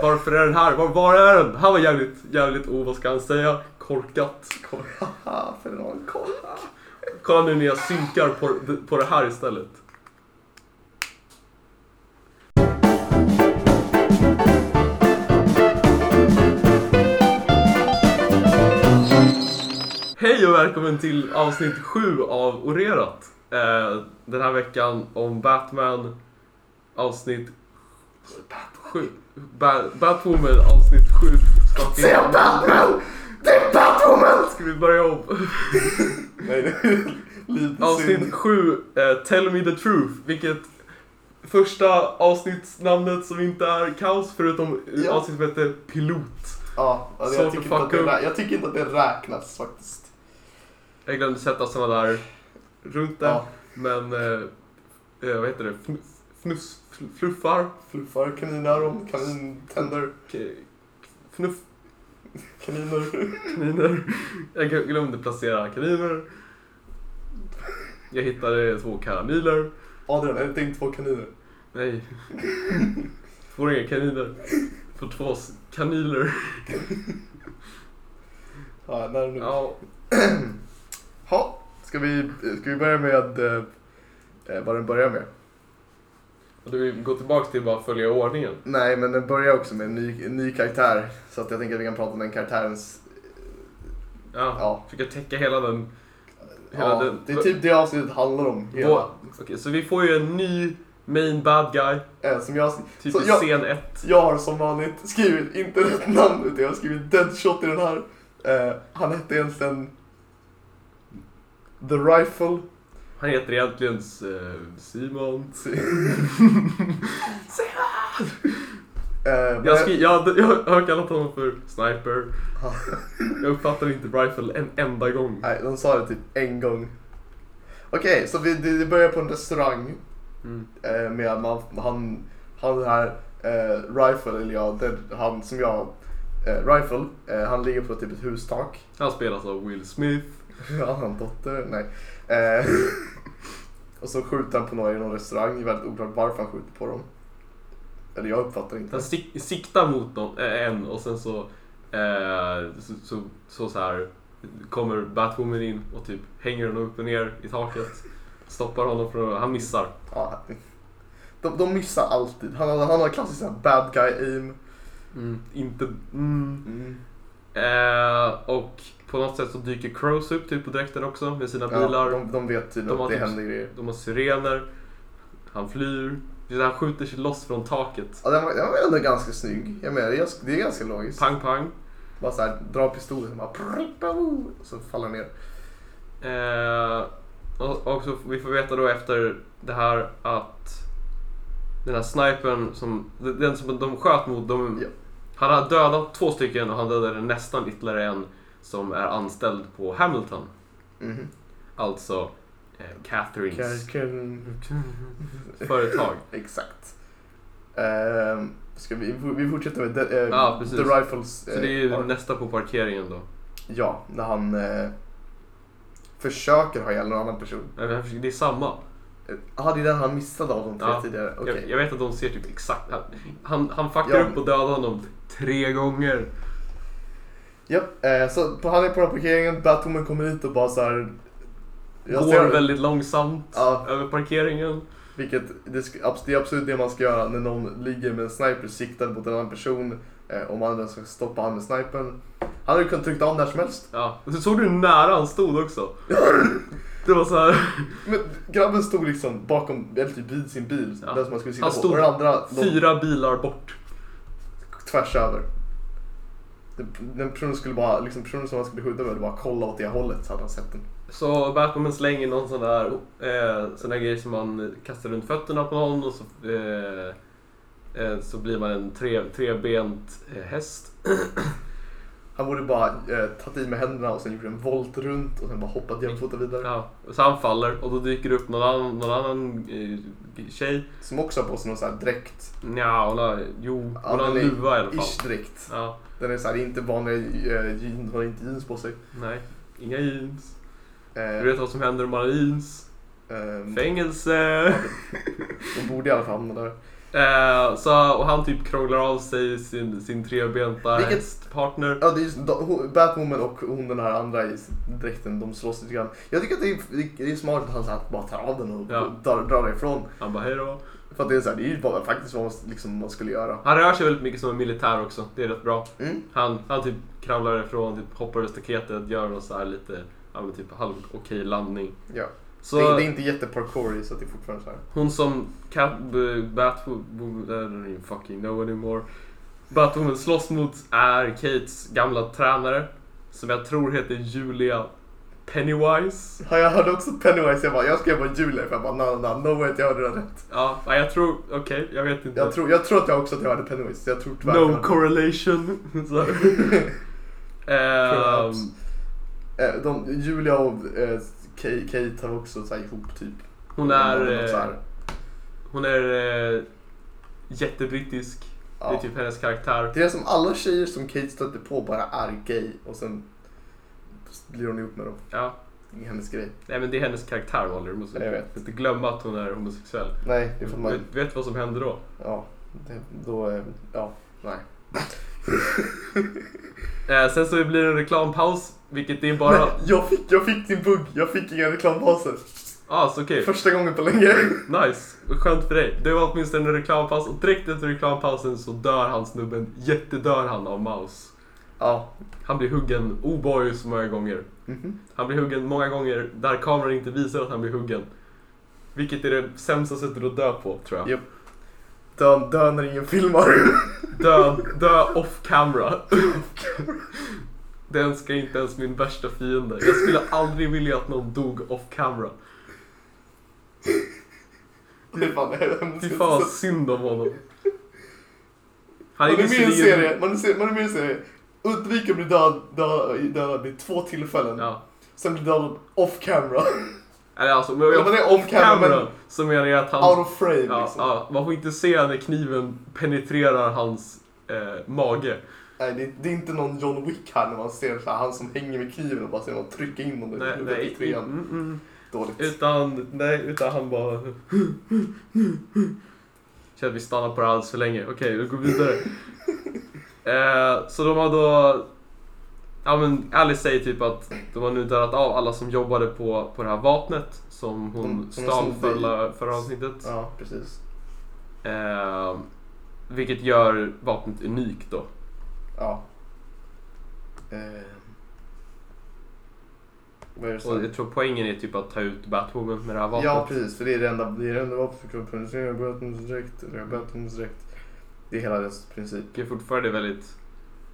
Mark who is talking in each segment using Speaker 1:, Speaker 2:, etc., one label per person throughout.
Speaker 1: Varför är den här? Var, var är den? Det här var jävligt, jävligt, oh, vad ska han säga? Korkat. Kor-
Speaker 2: Haha, för någon koll.
Speaker 1: Kolla nu när jag synkar på, på det här istället. Hej och välkommen till avsnitt 7 av Orerat. Eh, den här veckan om Batman, avsnitt 7. Ba- Batwoman, avsnitt 7.
Speaker 2: Se Batman! Det är Batwoman!
Speaker 1: Ska vi börja om?
Speaker 2: Nej, det är lite
Speaker 1: Avsnitt
Speaker 2: synd.
Speaker 1: 7, eh, Tell Me The Truth, vilket första avsnittsnamnet som inte är kaos förutom eh,
Speaker 2: Ja.
Speaker 1: avsnittet som heter Pilot.
Speaker 2: Ja, alltså,
Speaker 1: Sort
Speaker 2: jag, tycker
Speaker 1: of
Speaker 2: inte att det
Speaker 1: fuck up.
Speaker 2: rä- jag tycker inte att det räknas faktiskt.
Speaker 1: Jag glömde sätta såna där runt där,
Speaker 2: Ja,
Speaker 1: men eh, eh, vad heter det? Fn- Fnuss, fl- fluffar,
Speaker 2: fluffar, kaninöron, kanintänder,
Speaker 1: K- fnuff,
Speaker 2: kaniner.
Speaker 1: kaniner. Jag gl- glömde placera kaniner. Jag hittade två karameller.
Speaker 2: Adrian, är det inte två kaniner?
Speaker 1: Nej. Får inga kaniner. Får två s- kaniler.
Speaker 2: Ja, när nu.
Speaker 1: Ja,
Speaker 2: Ha, ska vi, ska vi börja med eh, eh, vad den börjar med?
Speaker 1: Och Du vill gå tillbaka till bara följa ordningen.
Speaker 2: Nej, men den börjar också med en ny, en ny karaktär. Så att jag tänker att vi kan prata om den karaktärens...
Speaker 1: Ja.
Speaker 2: Ja,
Speaker 1: Försöka täcka hela den. Hela
Speaker 2: ja
Speaker 1: den.
Speaker 2: det är typ det avsnittet handlar om.
Speaker 1: Vår-
Speaker 2: Hela,
Speaker 1: Okej, så vi får ju en ny main bad guy.
Speaker 2: eh, som jag,
Speaker 1: Typ
Speaker 2: Så
Speaker 1: i
Speaker 2: jag-
Speaker 1: scen 1.
Speaker 2: jag har som vanligt skrivit, inte rätt namn, utan jag har skrivit Deadshot i den här. Eh, han hette egentligen The Rifle.
Speaker 1: Han heter egentligen eh, Simon.
Speaker 2: eh, men-
Speaker 1: Jag, skri- jag, jag har kallat honom för Sniper. Jag uppfattar inte Rifle en enda gång.
Speaker 2: Nej, de sa det typ en gång. Okej, så vi, det det börjar på en restaurang.
Speaker 1: Mm.
Speaker 2: eh, med att man, han, han den här eh, Rifle, eller ja, den, han som jag, eh, Rifle, eh, han ligger på typ ett hustak.
Speaker 1: Han spelas av Will Smith.
Speaker 2: Ja, han dotter, nej. Eh, och så skjuter han på några i någon restaurang, det är väldigt oklart varför han skjuter på dem. Eller jag uppfattar inte.
Speaker 1: Han sik- siktar mot någon, eh, en och sen så, eh, så, så, så, så här kommer Batwoman in och typ hänger honom upp och ner i taket. Stoppar honom från Han missar.
Speaker 2: Ja, de, de missar alltid. Han, har- han har klassiskt sån här bad guy aim.
Speaker 1: Inte... Mm. Eh, och på något sätt så dyker Crows upp typ på dräkten också med sina bilar.
Speaker 2: Ja, de, de vet
Speaker 1: De
Speaker 2: tydligen
Speaker 1: har
Speaker 2: att det
Speaker 1: typ-
Speaker 2: händer grejer.
Speaker 1: De har sirener. Han flyr. Det är där Han skjuter sig loss från taket.
Speaker 2: Ja, den, var, den var ändå ganska snygg. Jag menar, det är, det är ganska logiskt.
Speaker 1: Pang, pang.
Speaker 2: Bara såhär, dra pistolen och bara prr, pow, och så faller ner.
Speaker 1: Eh, och, och så vi får veta då efter det här att den här snipern som den som de sköt mot, de,
Speaker 2: Ja.
Speaker 1: han har dödat två stycken och han dödade nästan ytterligare en som är anställd på Hamilton.
Speaker 2: Mhm.
Speaker 1: Alltså eh, Catherines
Speaker 2: Kärken.
Speaker 1: företag.
Speaker 2: Exakt. Ehm, ska vi, vi fortsätter med de, eh,
Speaker 1: Ja, precis.
Speaker 2: The Rifles.
Speaker 1: Så
Speaker 2: eh,
Speaker 1: det är ju
Speaker 2: arc.
Speaker 1: nästa på parkeringen då.
Speaker 2: Ja, när han eh, försöker ha ihjäl någon annan person.
Speaker 1: Nej, men jag försöker- Det är samma.
Speaker 2: Eh, Aha, det är den han missade av de tre
Speaker 1: Ja,
Speaker 2: tidigare. Okej.
Speaker 1: Jag, jag vet att de ser typ exakt... Han, han, han fuckar
Speaker 2: Ja.
Speaker 1: upp och dödar honom tre gånger.
Speaker 2: Japp, eh, så på, han är på den här parkeringen, Batwoman kommer hit och bara såhär...
Speaker 1: Går väldigt långsamt
Speaker 2: Ja.
Speaker 1: över parkeringen.
Speaker 2: Vilket det, sk- abs- det är absolut det man ska göra när någon ligger med en sniper siktad mot en annan person. Eh, om man ska stoppa han med snipern. Han hade ju kunnat trycka av när som helst.
Speaker 1: Ja. Och så såg du hur nära han stod också? Det var så här.
Speaker 2: Men grabben stod liksom bakom, eller typ vid sin bil.
Speaker 1: Ja.
Speaker 2: Den som man skulle sikta
Speaker 1: Han
Speaker 2: på.
Speaker 1: stod
Speaker 2: Och den andra låg
Speaker 1: fyra bilar bort.
Speaker 2: tvärs över. Den- Den personen, skulle bara, liksom personen som han skulle skjuta med bara kolla åt det hållet så hade han sett den.
Speaker 1: Så Batman slänger någon sån där, eh, sån där grej som man kastar runt fötterna på någon och så, eh, eh, så blir man en tre, trebent eh, häst.
Speaker 2: Han borde bara eh, tagit i med händerna och sen gjort en volt runt och sen bara hoppat jämfota vidare.
Speaker 1: Ja. Så han faller och då dyker det upp någon annan, någon annan eh, tjej.
Speaker 2: Som också har på sig någon sån här dräkt.
Speaker 1: Nja, hon har, jo,
Speaker 2: Ja,
Speaker 1: hon har en
Speaker 2: den är
Speaker 1: luva i alla fall.
Speaker 2: Ish dräkt.
Speaker 1: Ja,
Speaker 2: Den är såhär, det är inte vanliga eh, jeans, har inte jeans på sig.
Speaker 1: nej. Inga jeans.
Speaker 2: Eh,
Speaker 1: Du vet vad som händer om man har jeans?
Speaker 2: ehm,
Speaker 1: Fängelse!
Speaker 2: de borde i alla fall hamna där.
Speaker 1: Eh, så, och han typ krånglar av sig sin, sin trebenta
Speaker 2: Vilket-
Speaker 1: hästpartner.
Speaker 2: Ja, det är just, de- ho- Batwoman och hon den här andra i dräkten, de slåss lite grann. Jag tycker att det är, det är smart att han så här, bara tar av den och
Speaker 1: Ja.
Speaker 2: drar, drar ifrån.
Speaker 1: Han bara hej då.
Speaker 2: För att det är, så här, det är ju bara, faktiskt vad man, liksom, man skulle göra.
Speaker 1: Han rör sig väldigt mycket som en militär också. Det är rätt bra.
Speaker 2: Mm.
Speaker 1: Han, han typ kravlar ifrån, typ hoppar över staketet, gör någon så här lite ja, men typ halv okej landning.
Speaker 2: Ja.
Speaker 1: Så
Speaker 2: Det, är- det är inte jätteparkourig så att det är fortfarande så här.
Speaker 1: hon som Cat... b- Batwoman... eh, I don't even fucking know anymore. Batwoman slåss mot är Kates gamla tränare. Som jag tror heter Julia Pennywise.
Speaker 2: Ja, jag hörde också Pennywise, jag bara, jag skrev bara Julia för jag bara, na, na, no way att jag hörde det rätt.
Speaker 1: Ja, nej, jag tror... Okej, jag vet inte.
Speaker 2: Jag tror, jag tror att jag också att jag hörde Pennywise, jag tror tyvärr att jag
Speaker 1: no
Speaker 2: hörde-
Speaker 1: correlation. Så. Ehm,
Speaker 2: Perhaps. Eh, de, Julia och eh, Kate, Kate har också så här ihop typ.
Speaker 1: hon
Speaker 2: De har något
Speaker 1: är...
Speaker 2: så
Speaker 1: eh,
Speaker 2: här,
Speaker 1: Hon är eh, jättebrittisk. Det
Speaker 2: ja.
Speaker 1: är typ hennes karaktär.
Speaker 2: Det är som alla tjejer som Kate stötte på bara är gay och sen blir hon ihop med dem.
Speaker 1: Ja.
Speaker 2: Det är hennes grej.
Speaker 1: Nej men det är hennes karaktär Molly. Du måste
Speaker 2: Jag vet.
Speaker 1: inte glömma att hon är homosexuell.
Speaker 2: Nej, det får man...
Speaker 1: Vet, vet du vad som hände då?
Speaker 2: Ja. Det, då... eh, Ja. Nej.
Speaker 1: Eh, sen så blir det en reklampaus, vilket det är bara...
Speaker 2: Nej, jag, fick, jag fick din bugg. Jag fick inga reklampauser.
Speaker 1: Ah, så okej.
Speaker 2: Första gången på länge.
Speaker 1: Nice. Skönt för dig. Det var åtminstone en reklampaus och direkt efter reklampausen så dör han snubben. Jättedör han av Maus.
Speaker 2: Ja.
Speaker 1: Han blir huggen, oh boy, så många gånger.
Speaker 2: Mhm.
Speaker 1: Han blir huggen många gånger där kameran inte visar att han blir huggen. Vilket är det sämsta sättet att dö på, tror jag.
Speaker 2: Japp. Dö, dö när ingen filmar.
Speaker 1: Dö, dö off camera. Det önskar inte ens min värsta fiende. Jag skulle aldrig vilja att någon dog off camera.
Speaker 2: Det är fan det
Speaker 1: Fy
Speaker 2: hemskaste.
Speaker 1: fan vad synd om honom.
Speaker 2: Man är med i en
Speaker 1: visserligen-
Speaker 2: serie. Man är, se- man är med i en serie. Undvik att bli död, död, dödad vid två tillfällen.
Speaker 1: Ja.
Speaker 2: Sen blir dödad off camera.
Speaker 1: Eller alltså, men
Speaker 2: Eller
Speaker 1: jag,
Speaker 2: vad det är off camera,
Speaker 1: camera
Speaker 2: men
Speaker 1: så menar jag att han...
Speaker 2: out of frame
Speaker 1: ja,
Speaker 2: liksom.
Speaker 1: ja, man får inte se när kniven penetrerar hans eh, mage.
Speaker 2: Nej, det, det är inte någon John Wick här när man ser så här, han som hänger med kniven och bara ser någon trycka in honom i
Speaker 1: Nej,
Speaker 2: huvudet i
Speaker 1: nej,
Speaker 2: trean.
Speaker 1: mm, mm.
Speaker 2: Dåligt.
Speaker 1: Utan, nej, utan han bara... Känner att vi stannar på det alldeles för länge. Okej, vi går vidare. eh, så de har då... Ja men Alice säger typ att de har nu dödat av alla som jobbade på, på det här vapnet som hon
Speaker 2: Mm, som
Speaker 1: stal
Speaker 2: hon snodde i-
Speaker 1: förra, förra avsnittet.
Speaker 2: Ja, precis.
Speaker 1: Eh, vilket gör vapnet unikt då.
Speaker 2: Ja. Eh. Vad är det
Speaker 1: Och
Speaker 2: som...
Speaker 1: jag tror poängen är typ att ta ut Batwoman med det här vapnet.
Speaker 2: Ja, precis. För det är det enda, det är det enda vapnet som kan penetrera bötmusdräkt. Eller bötmusdräkt. Det är hela dess princip.
Speaker 1: tycker fortfarande är väldigt...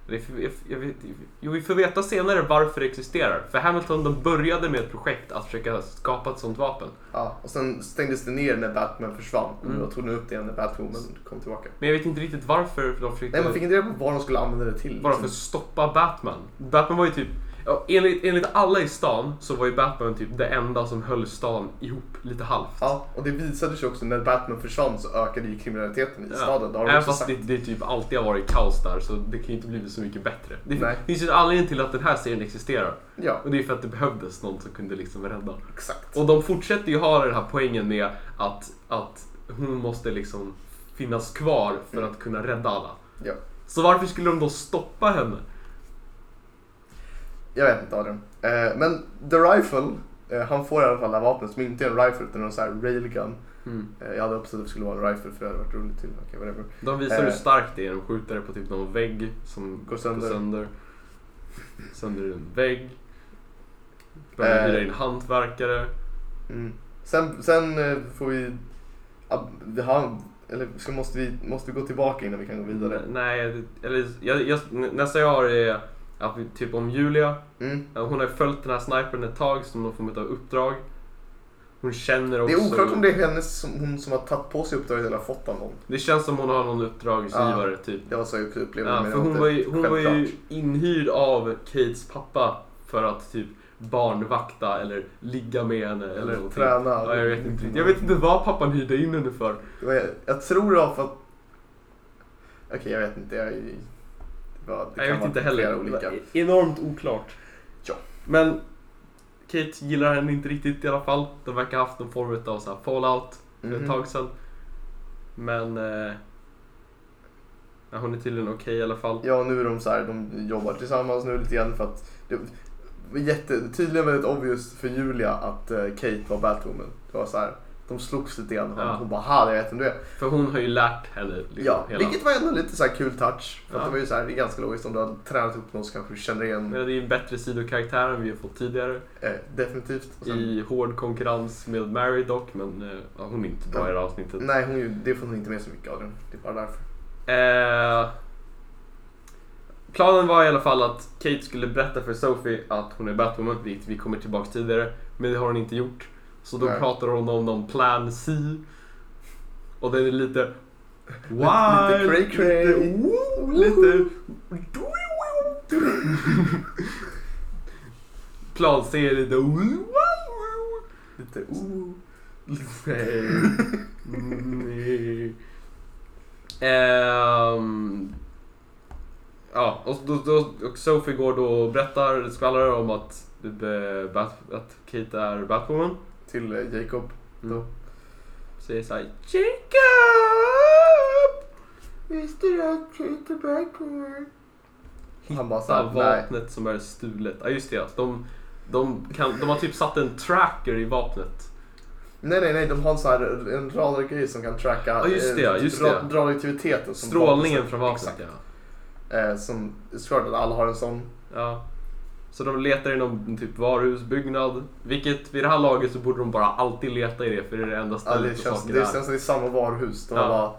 Speaker 1: det är för- jag- jag vet- Jo, vi får veta senare varför det existerar. För Hamilton de började med ett projekt att försöka skapa ett sånt vapen.
Speaker 2: Ja, och sen stängdes det ner när Batman försvann.
Speaker 1: Mm.
Speaker 2: Och då tog de upp det igen när Batwoman kom tillbaka.
Speaker 1: Men jag vet inte riktigt varför de försökte...
Speaker 2: Nej, man fick inte reda på vad de skulle använda det till.
Speaker 1: Mm.
Speaker 2: liksom.
Speaker 1: Bara för att stoppa Batman. Batman var ju typ... Ja, enligt, enligt alla i stan så var ju Batman typ det enda som höll stan ihop lite halvt.
Speaker 2: Ja, och det visade sig också när Batman försvann så ökade ju kriminaliteten i
Speaker 1: Ja.
Speaker 2: staden. Det har de
Speaker 1: Även
Speaker 2: också
Speaker 1: fast
Speaker 2: sagt.
Speaker 1: det, det typ alltid har varit kaos där så det kan ju inte blivit så mycket bättre. Det
Speaker 2: Nej.
Speaker 1: finns ju en anledning till att den här serien existerar.
Speaker 2: Ja,
Speaker 1: Och det är för att det behövdes någon som kunde liksom rädda.
Speaker 2: exakt.
Speaker 1: Och de fortsätter ju ha den här poängen med att, att hon måste liksom finnas kvar för att kunna rädda alla.
Speaker 2: Mm. Ja.
Speaker 1: Så varför skulle de då stoppa henne?
Speaker 2: Jag vet inte Adrian. Eh, men The Rifle, eh, han får i alla fall det här vapnet som inte är en rifle utan en sån här railgun. Eh, jag hade hoppats att det skulle vara en rifle för det hade varit roligt till. Okej, whatever.
Speaker 1: De visar hur
Speaker 2: Eh.
Speaker 1: starkt det är. De skjuter det på typ någon vägg som
Speaker 2: Går sönder.
Speaker 1: Går sönder. sönder en vägg. Börjar
Speaker 2: Eh.
Speaker 1: hyra in hantverkare.
Speaker 2: Mm. Sen, sen eh, får vi... ah, vi har, eller ska, måste, vi, måste vi gå tillbaka innan vi kan gå vidare?
Speaker 1: Nej, eller jag, jag, nästa jag har är att vi, typ om Julia. eh,
Speaker 2: Mm.
Speaker 1: Hon har följt den här snipern ett tag som någon form av uppdrag. Hon känner
Speaker 2: Det
Speaker 1: också...
Speaker 2: är oklart om det är hennes, som, hon som har tagit på sig uppdraget eller har fått av någon.
Speaker 1: Det känns som hon har någon uppdragsgivare typ.
Speaker 2: Det var så jag upplevde
Speaker 1: Ja,
Speaker 2: men
Speaker 1: för
Speaker 2: jag
Speaker 1: hon
Speaker 2: inte-
Speaker 1: var, ju, hon var ju
Speaker 2: självklart.
Speaker 1: inhyrd av Kates pappa för att typ barnvakta eller ligga med henne eller, någonting.
Speaker 2: träna.
Speaker 1: Ja, jag, vet inte, riktigt. jag vet inte vad pappan hyrde in henne för.
Speaker 2: Det var- Jag tror det var för att... Okej, jag vet inte. Jag, det var, det
Speaker 1: Nej,
Speaker 2: kan
Speaker 1: jag vet
Speaker 2: vara
Speaker 1: inte
Speaker 2: flera
Speaker 1: heller. e-,
Speaker 2: Olika.
Speaker 1: Enormt oklart.
Speaker 2: Ja.
Speaker 1: Men Kate gillar henne inte riktigt i alla fall. De verkar ha haft någon form av så här fallout för ett
Speaker 2: Mhm.
Speaker 1: tag sedan. Men eh, ja, hon är tydligen okej i alla fall.
Speaker 2: Ja, nu är de så här, de jobbar tillsammans nu lite grann för att det var jätte, tydligen väldigt obvious för Julia att eh, Kate var Batwoman. Det var så här, de slogs lite grann. Hon,
Speaker 1: Ja.
Speaker 2: hon bara, här jag vet vem du är.
Speaker 1: För hon har ju lärt henne. Liksom,
Speaker 2: ja,
Speaker 1: hela...
Speaker 2: vilket var ändå lite så här kul touch. För
Speaker 1: Ja.
Speaker 2: att det var ju så här, det är ganska logiskt om du har tränat upp någon så kanske du känner igen.
Speaker 1: Men det är ju en bättre sidokaraktär än vi har fått tidigare.
Speaker 2: Eh, definitivt. Och sen,
Speaker 1: I hård konkurrens med Mary dock, men eh, ja, hon är inte bra i det här avsnittet.
Speaker 2: Nej, hon, är ju- det får hon inte med så mycket av. den. Det är bara därför.
Speaker 1: Eh, planen var i alla fall att Kate skulle berätta för Sophie att hon är Batwoman, vilket vi kommer tillbaka tidigare. Men det har hon inte gjort. Så då
Speaker 2: Nej.
Speaker 1: pratar hon om någon plan C. Och den är lite... Wild,
Speaker 2: lite cray-cray.
Speaker 1: Lite... woo, lite plan C är lite...
Speaker 2: Lite
Speaker 1: Oh. Nej. Nej. Ehm, ja, och, då, då, och Sophie går då och berättar, skvallrar om att, eh, Bat, att Kate är Batwoman.
Speaker 2: till eh, Jacob.
Speaker 1: Mm.
Speaker 2: Mm.
Speaker 1: Säger såhär Jacob!
Speaker 2: Visste du att Kate är Batwoman? Han bara
Speaker 1: Såhär
Speaker 2: såhär, nej.
Speaker 1: vapnet som är stulet. Ja just det, ja. de, de, kan, de har typ satt en tracker i vapnet.
Speaker 2: Nej, nej, nej. De har en, sån här, en radargrej som kan tracka
Speaker 1: Ja, just det, ja,
Speaker 2: eh,
Speaker 1: just
Speaker 2: ra- radioaktiviteten. Som
Speaker 1: Strålningen från vapnet
Speaker 2: Exakt.
Speaker 1: ja.
Speaker 2: Eh, som såklart att alla har en sån.
Speaker 1: Ja. Så de letar i någon typ varuhusbyggnad. Vilket vid det här laget så borde de bara alltid leta i det för det är det enda
Speaker 2: Ja,
Speaker 1: stället
Speaker 2: det,
Speaker 1: där
Speaker 2: känns,
Speaker 1: saker
Speaker 2: det
Speaker 1: är.
Speaker 2: känns som det är samma varuhus. De har
Speaker 1: Ja.
Speaker 2: bara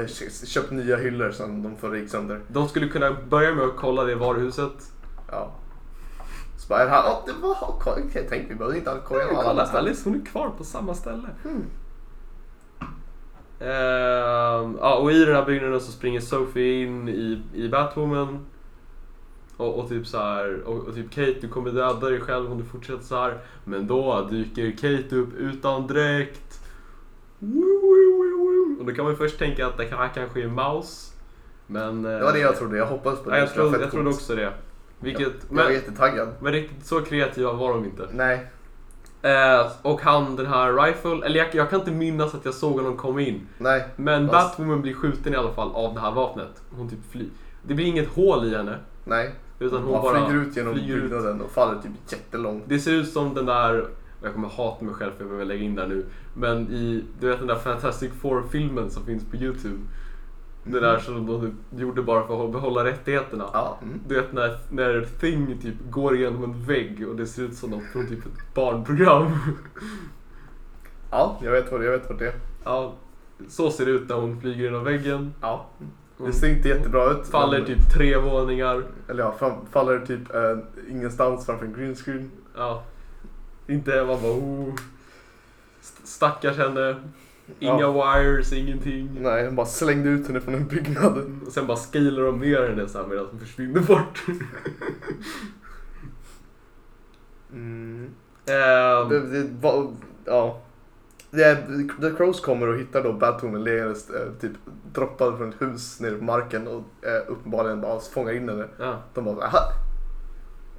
Speaker 2: eh, kö- köpt nya hyllor som de får gick sönder.
Speaker 1: De skulle kunna börja med att kolla det varuhuset.
Speaker 2: Ja. Så bara, är det här, ja, det var Okej, tänk vi behöver inte ha koll
Speaker 1: Ja,
Speaker 2: på alla
Speaker 1: kolla,
Speaker 2: ställen.
Speaker 1: Alice hon är kvar på samma ställe.
Speaker 2: Mm.
Speaker 1: Ehm, ja, och i den här byggnaden så springer Sophie in i, i Batwoman. Och, och typ så här, och, och typ Kate du kommer döda dig själv om du fortsätter så här. Men då dyker Kate upp utan dräkt. Woo, woo, woo, woo. Och då kan man ju först tänka att det här kanske är Mouse. Men...
Speaker 2: Det var det jag trodde. Jag hoppas på det.
Speaker 1: Ja, jag,
Speaker 2: Det skulle vara
Speaker 1: trodde,
Speaker 2: fett
Speaker 1: jag trodde
Speaker 2: coolt.
Speaker 1: också det. Vilket,
Speaker 2: Jag var
Speaker 1: men,
Speaker 2: jättetaggad.
Speaker 1: men riktigt så kreativa var de inte.
Speaker 2: Nej.
Speaker 1: Eh, och han den här Rifle, eller jag, jag kan inte minnas att jag såg honom komma in.
Speaker 2: Nej.
Speaker 1: Men
Speaker 2: Fast-
Speaker 1: Batwoman blir skjuten i alla fall av det här vapnet. Hon typ flyr. Det blir inget hål i henne.
Speaker 2: Nej.
Speaker 1: Utan hon
Speaker 2: Man
Speaker 1: bara
Speaker 2: flyger ut genom
Speaker 1: flyger ut.
Speaker 2: byggnaden och faller typ jättelångt.
Speaker 1: Det ser ut som den där, jag kommer hata mig själv för jag behöver lägga in där nu. Men i, du vet den där Fantastic Four-filmen som finns på YouTube. Det där som de typ gjorde bara för att behålla rättigheterna.
Speaker 2: Ja. Mm.
Speaker 1: Du vet när, när Thing typ går igenom en vägg och det ser ut som något från typ ett barnprogram.
Speaker 2: Ja, jag vet vad det, jag vet vad det är.
Speaker 1: Ja, så ser det ut när hon flyger genom väggen.
Speaker 2: Ja.
Speaker 1: Hon
Speaker 2: Det ser inte jättebra ut.
Speaker 1: Mm. faller
Speaker 2: men-
Speaker 1: typ tre våningar.
Speaker 2: Eller ja, fram, faller typ eh, ingenstans framför en green screen.
Speaker 1: Ja. Inte man bara oh. St- Stackars henne. Inga wires, ingenting.
Speaker 2: Nej, de bara slängde ut henne från en byggnad.
Speaker 1: Och sen bara scalar de ner henne så här medan hon försvinner bort.
Speaker 2: Mm. Det,
Speaker 1: Ehm,
Speaker 2: det, va, ja. Det är, The Crows kommer och hittar då Batwoman liggandes eh, typ droppad från ett hus nere på marken och eh, uppenbarligen bara fångar in henne.
Speaker 1: ja.
Speaker 2: De bara aha!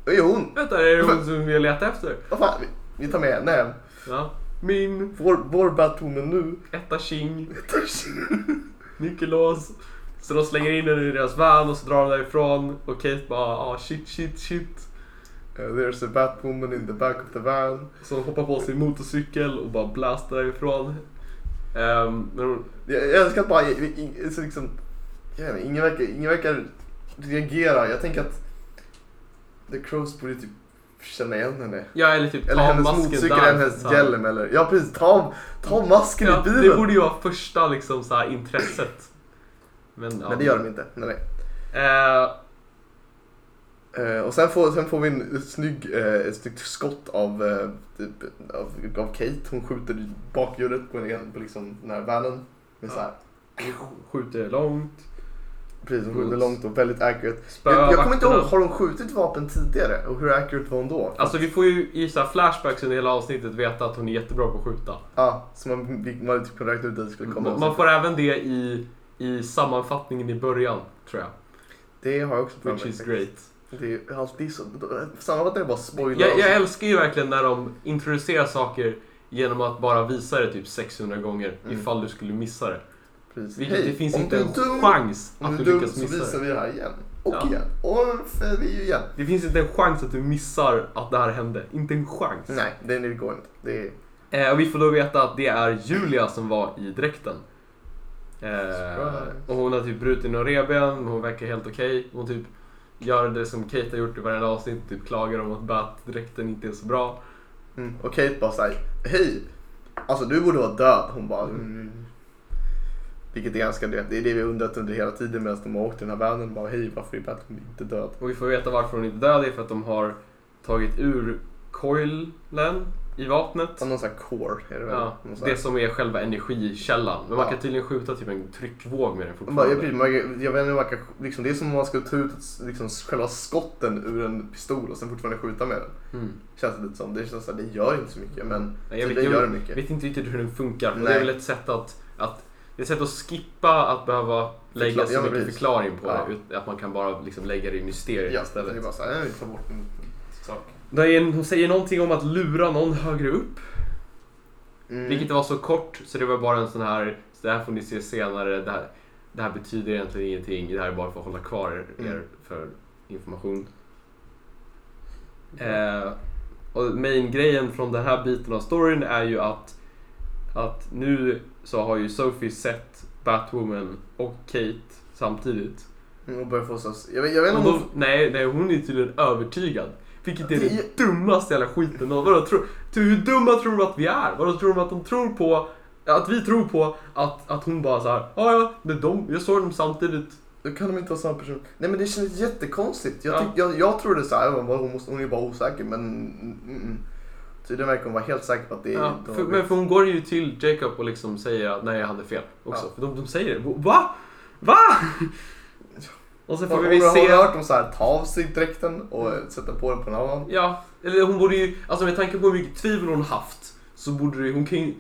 Speaker 2: Det är hon!
Speaker 1: Vänta, är det hon som vi letar efter?
Speaker 2: Vad fan, vi, vi tar med henne hem.
Speaker 1: Ja. Min
Speaker 2: Vår, vår Batwoman nu.
Speaker 1: etta tjing. nyckellås. Så de slänger in henne i deras van och så drar de därifrån och Kate bara ah shit shit shit.
Speaker 2: Eh, there's a Batwoman in the back of the van.
Speaker 1: Så hon hoppar på sin motorcykel och bara blastar därifrån. Ehm, men hon,
Speaker 2: Jag, jag älskar att bara, i- i- så liksom, jag vet inte, ingen verkar, ingen verkar reagera. Jag tänker att The Crows borde typ känna igen henne.
Speaker 1: ja eller typ ta
Speaker 2: Eller hennes
Speaker 1: masken
Speaker 2: motorcykel
Speaker 1: där.
Speaker 2: eller hennes
Speaker 1: så här.
Speaker 2: hjälm eller, ja precis, ta, ta masken
Speaker 1: Ja,
Speaker 2: i bilen.
Speaker 1: det borde ju vara första liksom så här intresset. Men, ja.
Speaker 2: Men det gör de inte. Nej, nej.
Speaker 1: Eh,
Speaker 2: Eh, och sen får, sen får vi en snygg, eh, ett snyggt skott av, eh, typ, av, av Kate. Hon skjuter i bakhjulet på, en, på liksom, den här vanen. Med så här,
Speaker 1: hon skjuter långt.
Speaker 2: precis, hon skjuter
Speaker 1: Mm.
Speaker 2: långt och väldigt accurate.
Speaker 1: Spöar
Speaker 2: Jag, jag kommer inte ihåg,
Speaker 1: vakterna.
Speaker 2: har de skjutit vapen tidigare? Och hur accurate var hon då?
Speaker 1: Alltså vi får ju i så här flashbacks under hela avsnittet veta att hon är jättebra på att skjuta.
Speaker 2: Ja, så man, man hade typ kunnat räkna ut att det skulle komma.
Speaker 1: Man, man får även det i, i sammanfattningen i början, tror jag.
Speaker 2: Det har jag också för
Speaker 1: Which
Speaker 2: mig.
Speaker 1: is great.
Speaker 2: Det är alltid så. Sammanfattar jag bara spoilar.
Speaker 1: Jag, jag älskar ju verkligen när de introducerar saker genom att bara visa det typ 600 gånger
Speaker 2: Mm.
Speaker 1: ifall du skulle missa det.
Speaker 2: Precis.
Speaker 1: Vilket det finns
Speaker 2: om
Speaker 1: inte
Speaker 2: du
Speaker 1: en
Speaker 2: är dum,
Speaker 1: chans
Speaker 2: om
Speaker 1: att
Speaker 2: du
Speaker 1: du
Speaker 2: är dum
Speaker 1: lyckas
Speaker 2: så
Speaker 1: missa
Speaker 2: visar
Speaker 1: det.
Speaker 2: vi det här igen. Och
Speaker 1: Ja.
Speaker 2: igen. Och för vi igen.
Speaker 1: Det finns inte en chans att du missar att det här hände. Inte en chans.
Speaker 2: Nej, det det går inte. Det är...
Speaker 1: Eh, och vi får då veta att det är Julia som var i dräkten. Eh,
Speaker 2: Surprise.
Speaker 1: och hon har typ brutit några revben, men hon verkar helt okej. Hon typ gör det som Kate har gjort i varenda avsnitt, typ klagar om att Bat-dräkten inte är så bra.
Speaker 2: Mm. Och Kate bara såhär, hej! Alltså du borde vara död. Hon bara, mm. Vilket är ganska det. Det är det vi undrat under hela tiden medan de har åkt i den här världen. Bara, hej varför är Batman inte död?
Speaker 1: Och vi får veta varför hon inte är död, det är för att de har tagit ur coilen i vapnet.
Speaker 2: Ja, Någon sån här core är det väl?
Speaker 1: Ja,
Speaker 2: Någon sån här-
Speaker 1: det som är själva energikällan. Men man
Speaker 2: Ja.
Speaker 1: kan tydligen skjuta typ en tryckvåg med den
Speaker 2: Man Bara,
Speaker 1: fortfarande.
Speaker 2: jag, blir- man, jag vet inte, man kan, liksom, det är som om man ska ta ut liksom, själva skotten ur en pistol och sen fortfarande skjuta med den.
Speaker 1: Mm.
Speaker 2: Känns det lite som. Det känns så här, det gör inte så mycket men
Speaker 1: Nej, jag
Speaker 2: det
Speaker 1: vet- jag
Speaker 2: gör mycket.
Speaker 1: Jag vet inte riktigt hur den funkar. Och det
Speaker 2: Nej.
Speaker 1: är väl ett sätt att, att, det är ett sätt att skippa att behöva lägga
Speaker 2: Förkla-
Speaker 1: så
Speaker 2: ja,
Speaker 1: mycket
Speaker 2: precis.
Speaker 1: förklaring på
Speaker 2: Ja.
Speaker 1: det. ut- Att man kan bara liksom lägga det i mysteriet
Speaker 2: ja, det är
Speaker 1: istället.
Speaker 2: bara så här, nej, vi tar bort en sak.
Speaker 1: Det är en, hon säger någonting om att lura någon högre upp.
Speaker 2: Mm.
Speaker 1: Vilket var så kort så det var bara en sån här, så det här får ni se senare. Det här, det här betyder egentligen ingenting. Det här är bara för att hålla kvar er
Speaker 2: Mm.
Speaker 1: för information.
Speaker 2: Mm.
Speaker 1: Eh, och main-grejen från den här biten av storyn är ju att, att nu så har ju Sophie sett Batwoman och Kate samtidigt.
Speaker 2: Mm, och börjar få så jag vet, jag vet
Speaker 1: Och
Speaker 2: inte
Speaker 1: då,
Speaker 2: om
Speaker 1: nej, nej, hon är tydligen övertygad. Vilket är
Speaker 2: Det
Speaker 1: det,
Speaker 2: är-
Speaker 1: dummaste jävla skiten. Och vadå, tror, tror, hur dumma tror de att vi är? Vadå tror de att de tror på att vi tror på att, att hon bara så här, ja ja, det är de, jag såg dem samtidigt.
Speaker 2: Då kan de inte vara samma person. Nej men det känns jättekonstigt. Jag,
Speaker 1: Ja.
Speaker 2: tyck, jag, jag trodde så här, jag bara, hon, måste, hon är bara osäker men mm, mm. tydligen verkar hon vara helt säker på att det är...
Speaker 1: Ja,
Speaker 2: de-
Speaker 1: för, men för hon går ju till Jacob och liksom säger att nej, jag hade fel också.
Speaker 2: Ja.
Speaker 1: För de, de säger det. Va? Va? Och så
Speaker 2: Hon,
Speaker 1: får
Speaker 2: hon,
Speaker 1: vi
Speaker 2: har-
Speaker 1: se.
Speaker 2: hon har hört dem så här, ta av sig dräkten och eh, sätta på den på en annan.
Speaker 1: Ja, eller hon borde ju, alltså med tanke på hur mycket tvivel hon haft så borde det, hon kan ju,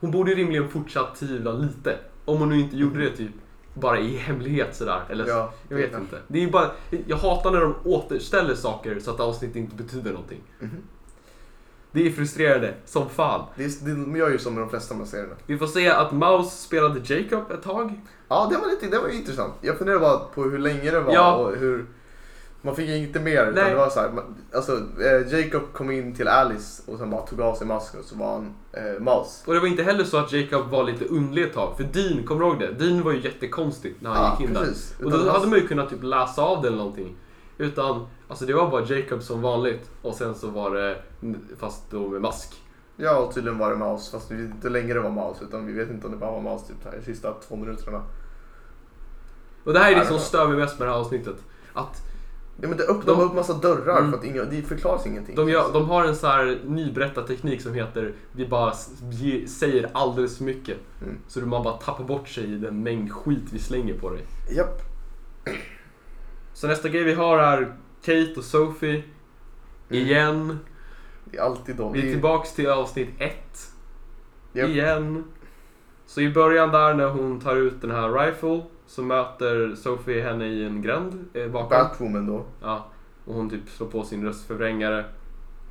Speaker 1: hon borde ju rimligen fortsatt tvivla lite. Om hon nu inte gjorde det typ bara i hemlighet sådär. Eller så,
Speaker 2: Ja,
Speaker 1: jag vet
Speaker 2: det-
Speaker 1: inte. Det är ju bara, jag hatar när de återställer saker så att avsnitt inte betyder någonting.
Speaker 2: Mhm.
Speaker 1: Det är frustrerande som fan.
Speaker 2: Det, är- det, de gör ju som med de flesta av de här serierna.
Speaker 1: Vi får se att Mouse spelade Jacob ett tag.
Speaker 2: Ja, det var, lite, det var ju intressant. Jag funderar bara på hur länge det var
Speaker 1: Ja.
Speaker 2: och hur... Man fick inte mer. Utan
Speaker 1: Nej.
Speaker 2: det var så här, man- alltså, eh, Jacob kom in till Alice och sen bara tog av sig masken och så var han eh, Mouse.
Speaker 1: Och det var inte heller så att Jacob var lite underlig ett tag. För Dean, kommer du ihåg det? Dean var ju jättekonstig när han
Speaker 2: Ja,
Speaker 1: gick in där.
Speaker 2: precis.
Speaker 1: Och
Speaker 2: Utan
Speaker 1: då hade
Speaker 2: Mouse-
Speaker 1: man ju kunnat typ läsa av det eller någonting. Utan, alltså det var bara Jacob som vanligt. Och sen så var det, fast då med mask.
Speaker 2: Ja, och tydligen var det Mouse. Fast vi vet inte hur länge det var Mouse. Utan vi vet inte om det bara var Mouse typ här, de sista två minuterna.
Speaker 1: Och det här är
Speaker 2: Ja,
Speaker 1: det som
Speaker 2: det var-
Speaker 1: stör mig mest med det här avsnittet. Att
Speaker 2: Ja, men det öppnade
Speaker 1: De-
Speaker 2: de... upp massa dörrar
Speaker 1: Mm.
Speaker 2: för att inga, det förklaras ingenting.
Speaker 1: de, gör, de har en så här nyberättarteknik som heter vi bara s- ge, säger alldeles för mycket.
Speaker 2: Mm.
Speaker 1: Så du- man bara tappar bort sig i den mängd skit vi slänger på dig.
Speaker 2: Japp.
Speaker 1: Så nästa grej vi har är Kate och Sophie.
Speaker 2: Mm.
Speaker 1: Igen.
Speaker 2: Det är alltid de.
Speaker 1: Vi
Speaker 2: Det
Speaker 1: är
Speaker 2: är-
Speaker 1: tillbaks till avsnitt ett.
Speaker 2: Japp.
Speaker 1: Igen. Så i början där när hon tar ut den här rifle så möter Sophie henne i en gränd eh, bakom.
Speaker 2: Batwoman då.
Speaker 1: Ja. Och hon typ slår på sin röstförvrängare.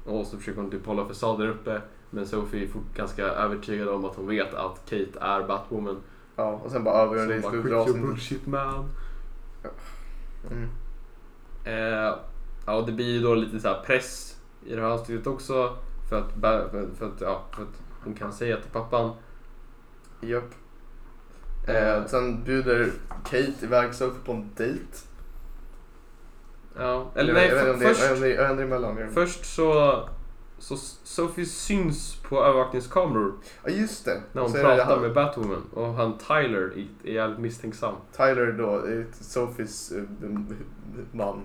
Speaker 1: Och så försöker hon typ hålla fasaden uppe. Men Sophie är fort ganska övertygad om att hon vet att Kate är Batwoman.
Speaker 2: Ja, och sen bara
Speaker 1: Så
Speaker 2: över
Speaker 1: hon
Speaker 2: det i
Speaker 1: bara,
Speaker 2: slutet
Speaker 1: "Quit
Speaker 2: av
Speaker 1: your
Speaker 2: avsnittet.
Speaker 1: bullshit man.
Speaker 2: Mm.
Speaker 1: Eh, ja, och det blir ju då lite så här press i det här avsnittet också. För att, Ba- för, för att, ja, för att hon kan säga till pappan.
Speaker 2: Japp. Eh, sen bjuder Kate iväg Sophie på en dejt.
Speaker 1: Ja, eller
Speaker 2: jag,
Speaker 1: nej,
Speaker 2: jag
Speaker 1: för,
Speaker 2: vet inte om det,
Speaker 1: först,
Speaker 2: jag vet inte- jag vet inte emellan. Jag-
Speaker 1: Först så, så Sophie syns på övervakningskameror
Speaker 2: Ja, just det.
Speaker 1: när hon
Speaker 2: Så är det
Speaker 1: pratar
Speaker 2: han-
Speaker 1: med Batwoman och han Tyler är- är jävligt misstänksam.
Speaker 2: Tyler då, är Sophies eh, m- m- man.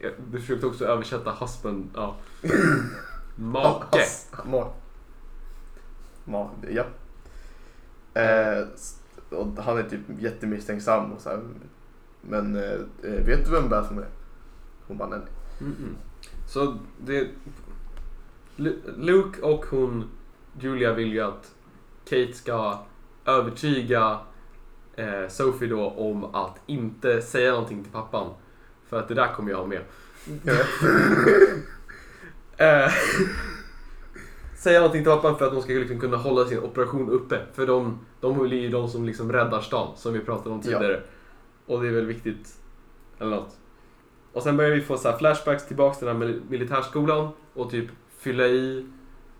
Speaker 1: Jag försökte också översätta husband, ja.
Speaker 2: Han-
Speaker 1: Make.
Speaker 2: hans- Ma. Ma, ja. Eh, s- och han är typ jättemisstänksam och så här. Men eh, eh, vet du vem Batman är? Hon bara, nej. nej.
Speaker 1: Mm-mm. Så det... Lu- Luke och hon, Julia, vill ju att Kate ska övertyga eh, Sophie då om att inte säga någonting till pappan. För att det där kommer jag ha med.
Speaker 2: Jag vet.
Speaker 1: Eh, säga någonting till pappan för att de ska liksom kunna hålla sin operation uppe. För de, de blir ju de som liksom räddar stan, som vi pratade om
Speaker 2: Ja.
Speaker 1: tidigare. Och det är väl viktigt. Eller något. Och sen börjar vi få så här flashbacks tillbaks till den här mil- militärskolan och typ fylla i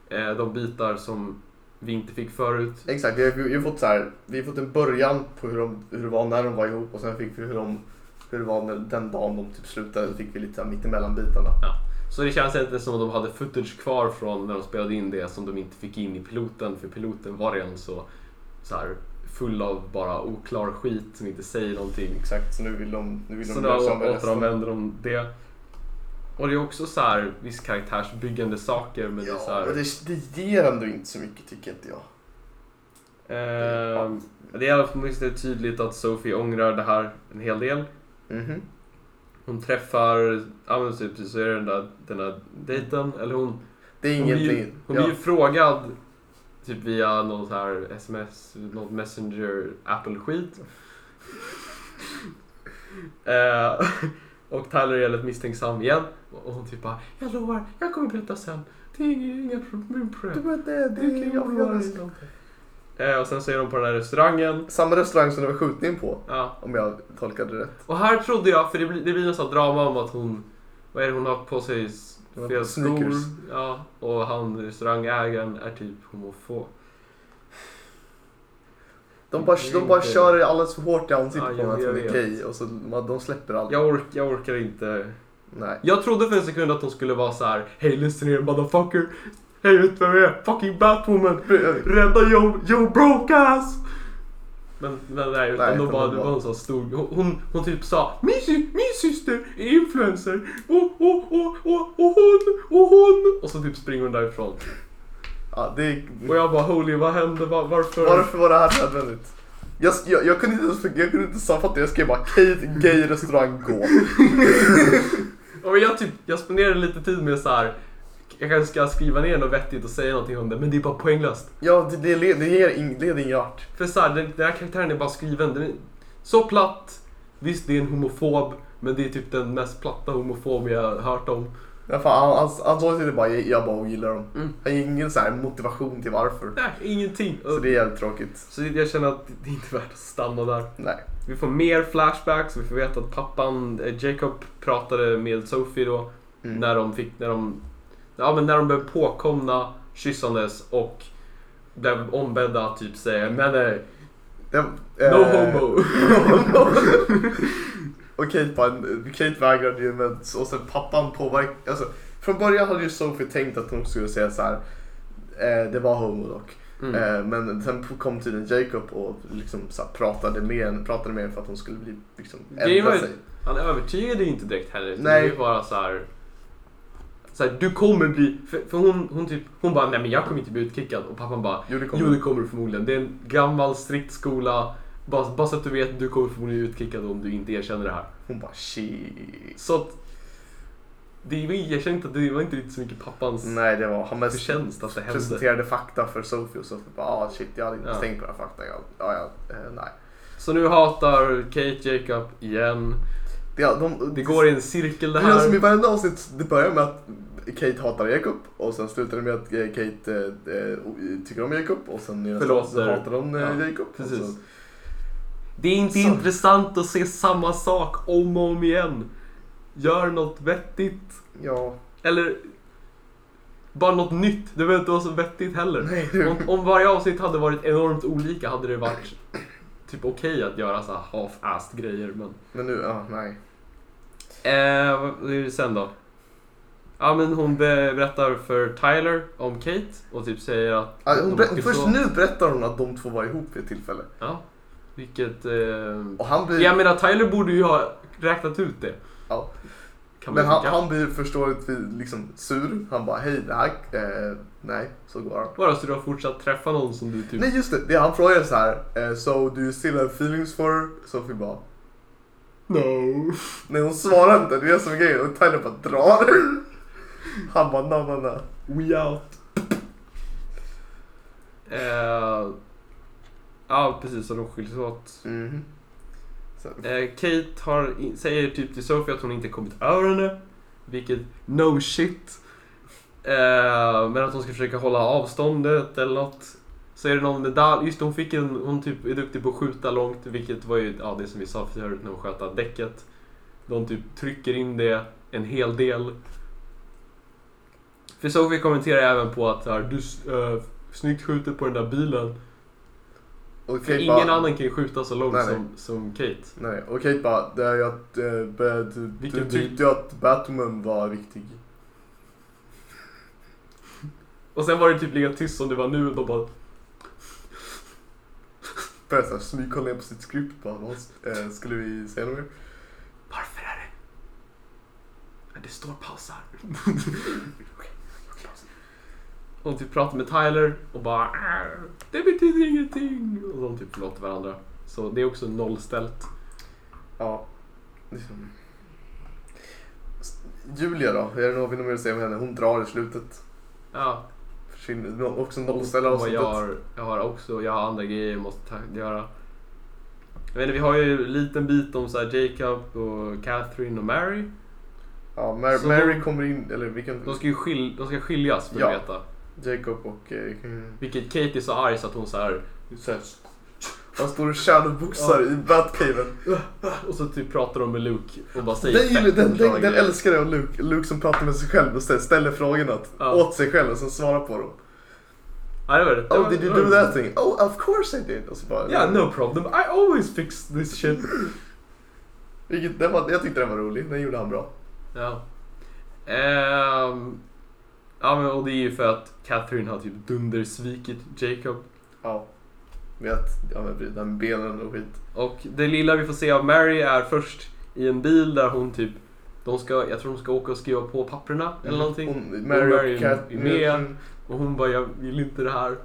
Speaker 1: eh, de bitar som vi inte fick förut.
Speaker 2: Exakt, vi har, vi, har fått så här, vi har fått en början på hur, de, hur det var när de var ihop och sen fick vi hur, de, hur det var när, den dagen de typ slutade. Så fick vi lite så här mittemellan bitarna.
Speaker 1: Så det känns inte som att de hade footage kvar från när de spelade in det som de inte fick in i piloten för piloten var redan så, så här, full av bara oklar skit som inte säger någonting.
Speaker 2: Exakt, så nu vill de, nu vill
Speaker 1: Så
Speaker 2: de
Speaker 1: nu
Speaker 2: lösa med resten.
Speaker 1: återanvänder de det. Och det är också så här viss karaktärsbyggande saker men det är så
Speaker 2: Ja,
Speaker 1: här,
Speaker 2: men det, det ger ändå inte så mycket tycker inte jag.
Speaker 1: ehm, Det är i alla fall åtminstone tydligt att Sophie ångrar det här en hel del.
Speaker 2: Mhm.
Speaker 1: Hon träffar, ja men typ så är det den där, den där dejten, eller hon
Speaker 2: Det är
Speaker 1: Hon blir,
Speaker 2: ingenting.
Speaker 1: ju, hon
Speaker 2: ja.
Speaker 1: blir ju frågad typ via någon så här sms, något messenger apple-skit. eh, och Tyler är väldigt misstänksam igen. Och hon typ bara, jag lovar, jag kommer berätta sen. Det är inga inga problem.
Speaker 2: Du vet det, det
Speaker 1: Det är
Speaker 2: är
Speaker 1: inga
Speaker 2: jag
Speaker 1: problem. Eh, och sen så är de på den här restaurangen.
Speaker 2: Samma restaurang som det var skjutning på,
Speaker 1: Ja.
Speaker 2: om jag tolkade det rätt.
Speaker 1: Och här trodde jag, för det blir, det blir nästan drama om att hon, vad är det hon har på sig? S-
Speaker 2: Hon har
Speaker 1: Fel
Speaker 2: på sneakers.
Speaker 1: skor. Ja, och han restaurangägaren är typ homofob.
Speaker 2: De bara,
Speaker 1: Det är
Speaker 2: de bara
Speaker 1: inte-
Speaker 2: kör alldeles för hårt i ansiktet
Speaker 1: Ja,
Speaker 2: på
Speaker 1: jag-
Speaker 2: honom att
Speaker 1: jag
Speaker 2: hon är
Speaker 1: vet.
Speaker 2: gay och så man, de släpper allt.
Speaker 1: Jag, ork, jag orkar inte.
Speaker 2: Nej.
Speaker 1: Jag trodde för en sekund att hon skulle vara så här: Hej lyssna ner motherfucker. Hej vet vem jag är? Fucking Batwoman. Rädda Joe, Joe broke ass. Men, men nej, utan
Speaker 2: Nej,
Speaker 1: de
Speaker 2: utan
Speaker 1: bara,
Speaker 2: de
Speaker 1: det
Speaker 2: bara-
Speaker 1: var en sån stor... Hon, hon, hon typ sa min, sy- min syster är influencer. Och, och, och, och, och hon, och hon. Och så typ springer hon därifrån.
Speaker 2: Ja, det är...
Speaker 1: Och jag bara holy vad hände? Var, varför?
Speaker 2: Varför var det här nödvändigt? Jag, jag, jag kunde inte ens jag kunde inte sammanfatta jag skrev bara Kate gay restaurang gå.
Speaker 1: Ja, men jag, typ, jag spenderade lite tid med så här. Jag kanske ska skriva ner något vettigt och säga någonting om det. Men det är bara poänglöst.
Speaker 2: Ja, det, det, led, det ger ing- leder ingen vart.
Speaker 1: För så här, den, den här karaktären är bara skriven. Den är så platt. Visst, det är en homofob. Men det är typ den mest platta homofob jag har hört om.
Speaker 2: Ja, fan, Han, han, han sa till det bara jag, jag bara gillar dem.
Speaker 1: Mm.
Speaker 2: Han ger ingen så här motivation till varför.
Speaker 1: Nej, ingenting.
Speaker 2: Så det är jävligt tråkigt.
Speaker 1: Så jag känner att det är inte värt att stanna där.
Speaker 2: Nej.
Speaker 1: Vi får mer flashbacks. Vi får veta att pappan, eh, Jacob, pratade med Sophie då.
Speaker 2: Mm.
Speaker 1: När de fick, när de, ja men när de blev påkomna, kyssandes och blev ombedda att typ säga men nej,
Speaker 2: Det,
Speaker 1: no
Speaker 2: eh,
Speaker 1: homo.
Speaker 2: Och Kate, bara, Kate vägrade ju men och sen pappan påverkade. Alltså, från början hade ju Sophie tänkt att hon skulle säga så här. Eh, det var homo dock.
Speaker 1: Mm.
Speaker 2: Eh, men sen kom tydligen Jacob och liksom så här, pratade med henne pratade med henne för att hon skulle bli liksom,
Speaker 1: Det är
Speaker 2: ändra
Speaker 1: ju-
Speaker 2: sig.
Speaker 1: Han övertygade ju inte direkt heller. utan
Speaker 2: Nej.
Speaker 1: Det är bara så här. Så här, du kommer bli... För, för hon, hon typ, hon bara, nej men jag kommer inte bli utkickad. Och pappan bara,
Speaker 2: Jo det kom.
Speaker 1: jo det kommer du förmodligen. Det är en gammal strikt skola. Bara, bara så att du vet, du kommer förmodligen bli utkickad om du inte erkänner det här.
Speaker 2: Hon bara shit.
Speaker 1: Så att... Det, var- jag känner inte att det var inte riktigt så mycket pappans
Speaker 2: Nej det var han mest
Speaker 1: förtjänst att det hände.
Speaker 2: presenterade fakta för Sophie och Sophie bara ah shit jag hade inte
Speaker 1: Ja.
Speaker 2: tänkt på den här faktan. Jag, ja, ja, eh, nej.
Speaker 1: Så nu hatar Kate Jacob igen.
Speaker 2: Det, de,
Speaker 1: Det går i en cirkel det
Speaker 2: Det känns som i
Speaker 1: här.
Speaker 2: varenda avsnitt, det börjar med att Kate hatar Jacob och sen slutar det med att eh, Kate eh, eh, tycker om Jacob och sen i nästa
Speaker 1: Förlåter.
Speaker 2: avsnitt så hatar hon eh,
Speaker 1: Ja,
Speaker 2: Jacob. och
Speaker 1: Precis.
Speaker 2: så-
Speaker 1: Det är inte
Speaker 2: Så-
Speaker 1: intressant att se samma sak om och om igen. Gör något vettigt.
Speaker 2: Ja.
Speaker 1: Eller bara något nytt. Det behöver inte vara så vettigt heller.
Speaker 2: Nej, du.
Speaker 1: Om, om varje avsnitt hade varit enormt olika hade det varit typ okej att göra så här half-assed grejer. Men...
Speaker 2: Men nu, ja, nej.
Speaker 1: Eh, vad vad är det sen då? Ja men hon be- berättar för Tyler om Kate och typ säger att...
Speaker 2: Ah, hon
Speaker 1: de
Speaker 2: ber-
Speaker 1: åker
Speaker 2: först
Speaker 1: så.
Speaker 2: nu berättar hon att de två var ihop vid ett tillfälle.
Speaker 1: Ja, vilket... Eh...
Speaker 2: Och han blir,
Speaker 1: Jag menar Tyler borde ju ha räknat ut det.
Speaker 2: Ja.
Speaker 1: Kan man
Speaker 2: men han,
Speaker 1: tycka.
Speaker 2: han blir förståeligt liksom sur. Han bara hej, det här, eh, nej, så går han.
Speaker 1: Bara så du har fortsatt träffa någon som du typ...
Speaker 2: Nej just det, det han frågar så här. Eh, so do you still have feelings for her? Sophie bara
Speaker 1: No.
Speaker 2: Nej hon svarar inte, det är det som är grejen. Och Tyler bara drar. Han bara na na na.
Speaker 1: We out. Eh, ja, precis. Så de skiljs åt.
Speaker 2: Mhm. Så,
Speaker 1: Eh, Kate har, i- säger typ till Sophie att hon inte kommit över henne. Vilket, no shit. Eh, Eh, men att hon ska försöka hålla avståndet eller något. Så är det någon medalj. Just det, hon fick en, hon typ är duktig på att skjuta långt, vilket var ju ja, det som vi sa förut när hon sköt av däcket. De typ trycker in det en hel del. För så vi kommenterar även på att så här, du uh, snyggt skjuter på den där bilen.
Speaker 2: Och
Speaker 1: För
Speaker 2: Kate
Speaker 1: ingen
Speaker 2: bara,
Speaker 1: annan kan ju skjuta så långt
Speaker 2: Nej, nej.
Speaker 1: som, som Kate.
Speaker 2: Nej, och Kate bara, det är ju att, eh, ba- du, du
Speaker 1: Vilken
Speaker 2: tyckte ju att Batman var viktig.
Speaker 1: Och sen var det typ lika tyst som det var nu. De bara,
Speaker 2: Började såhär smygkolla på sitt skript bara, vad eh, skulle vi säga något mer?
Speaker 1: varför är det? Ja, Det står paus här. Hon typ pratar med Tyler och bara "Arr, Det betyder ingenting. Och de typ förlåter varandra. Så det är också nollställt.
Speaker 2: Ja. Liksom. S- Julia då? Är det något vi vill säga om henne? Hon drar i slutet.
Speaker 1: Ja.
Speaker 2: Försvinner. Nå- Också nollställer
Speaker 1: Och jag
Speaker 2: avsnittet.
Speaker 1: har, jag har också, jag har andra grejer jag måste ta- göra. Jag vet inte, vi har ju en liten bit om så här Jacob och Catherine och Mary.
Speaker 2: Ja, Mary,
Speaker 1: Så
Speaker 2: Mary
Speaker 1: de-
Speaker 2: kommer in, eller vilken?
Speaker 1: De ska ju skil, de ska skiljas för
Speaker 2: Ja.
Speaker 1: att veta.
Speaker 2: Jacob och... Eh,
Speaker 1: Vilket Kate är så arg så att hon så här, så här
Speaker 2: han står och shadowboxar i Batcaven.
Speaker 1: Och så typ pratar de med Luke och bara säger
Speaker 2: Den, gillar-
Speaker 1: fett
Speaker 2: den,
Speaker 1: bra
Speaker 2: den, den
Speaker 1: grejer.
Speaker 2: älskar jag, Luke. Luke som pratar med sig själv och ställer, ställer frågorna åt-
Speaker 1: Ja.
Speaker 2: åt sig själv och sen svarar på dem.
Speaker 1: Ja, det var det. det.
Speaker 2: Oh,
Speaker 1: var-
Speaker 2: did you
Speaker 1: det var-
Speaker 2: do that thing? Oh, of course I did! Och så bara...
Speaker 1: Yeah, no problem. I always fix this shit.
Speaker 2: Vilket, den var, jag tyckte den var rolig, den gjorde han bra.
Speaker 1: Ja. Ehm, ja, men och det är ju för att Catherine har typ dundersvikit Jacob.
Speaker 2: Ja. Med att, ja men den benen och skit.
Speaker 1: Och det lilla vi får se av Mary är först i en bil där hon typ de ska, jag tror de ska åka och skriva på papperna
Speaker 2: Mm.
Speaker 1: eller någonting.
Speaker 2: Hon,
Speaker 1: Hon
Speaker 2: Mary
Speaker 1: Mary
Speaker 2: och Mm. Cat,
Speaker 1: är med. Och hon bara, jag vill inte det här.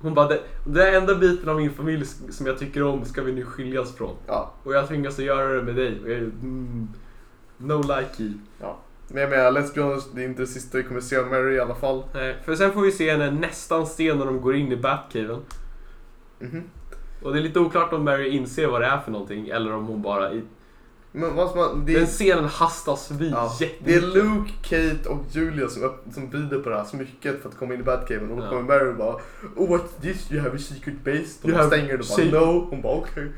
Speaker 1: Hon bara, "Det- den enda biten av min familj som jag tycker om ska vi nu skiljas från.
Speaker 2: Ja,
Speaker 1: Och jag tvingas att göra det med dig. Och jag, är, mm, no likey.
Speaker 2: men jag menar, let's be honest, det är inte det sista vi kommer se av Mary i alla fall.
Speaker 1: Nej, För sen får vi se henne nästan sen när de går in i Batcaven.
Speaker 2: Mhm.
Speaker 1: Och det är lite oklart om Mary inser vad det är för någonting eller om hon bara... I,
Speaker 2: Men vad som, man- det,
Speaker 1: den
Speaker 2: är,
Speaker 1: scenen hastas förbi
Speaker 2: ja, det är
Speaker 1: jättemycket.
Speaker 2: Luke, Kate och Julia som, öpp- som bider på det här smycket för att komma in i Batcaven. Och då
Speaker 1: Ja.
Speaker 2: kommer Mary och bara oh, What's this? You have a secret base? De
Speaker 1: You
Speaker 2: bara
Speaker 1: have
Speaker 2: stänger och bara
Speaker 1: secret-
Speaker 2: no. Hon bara okej.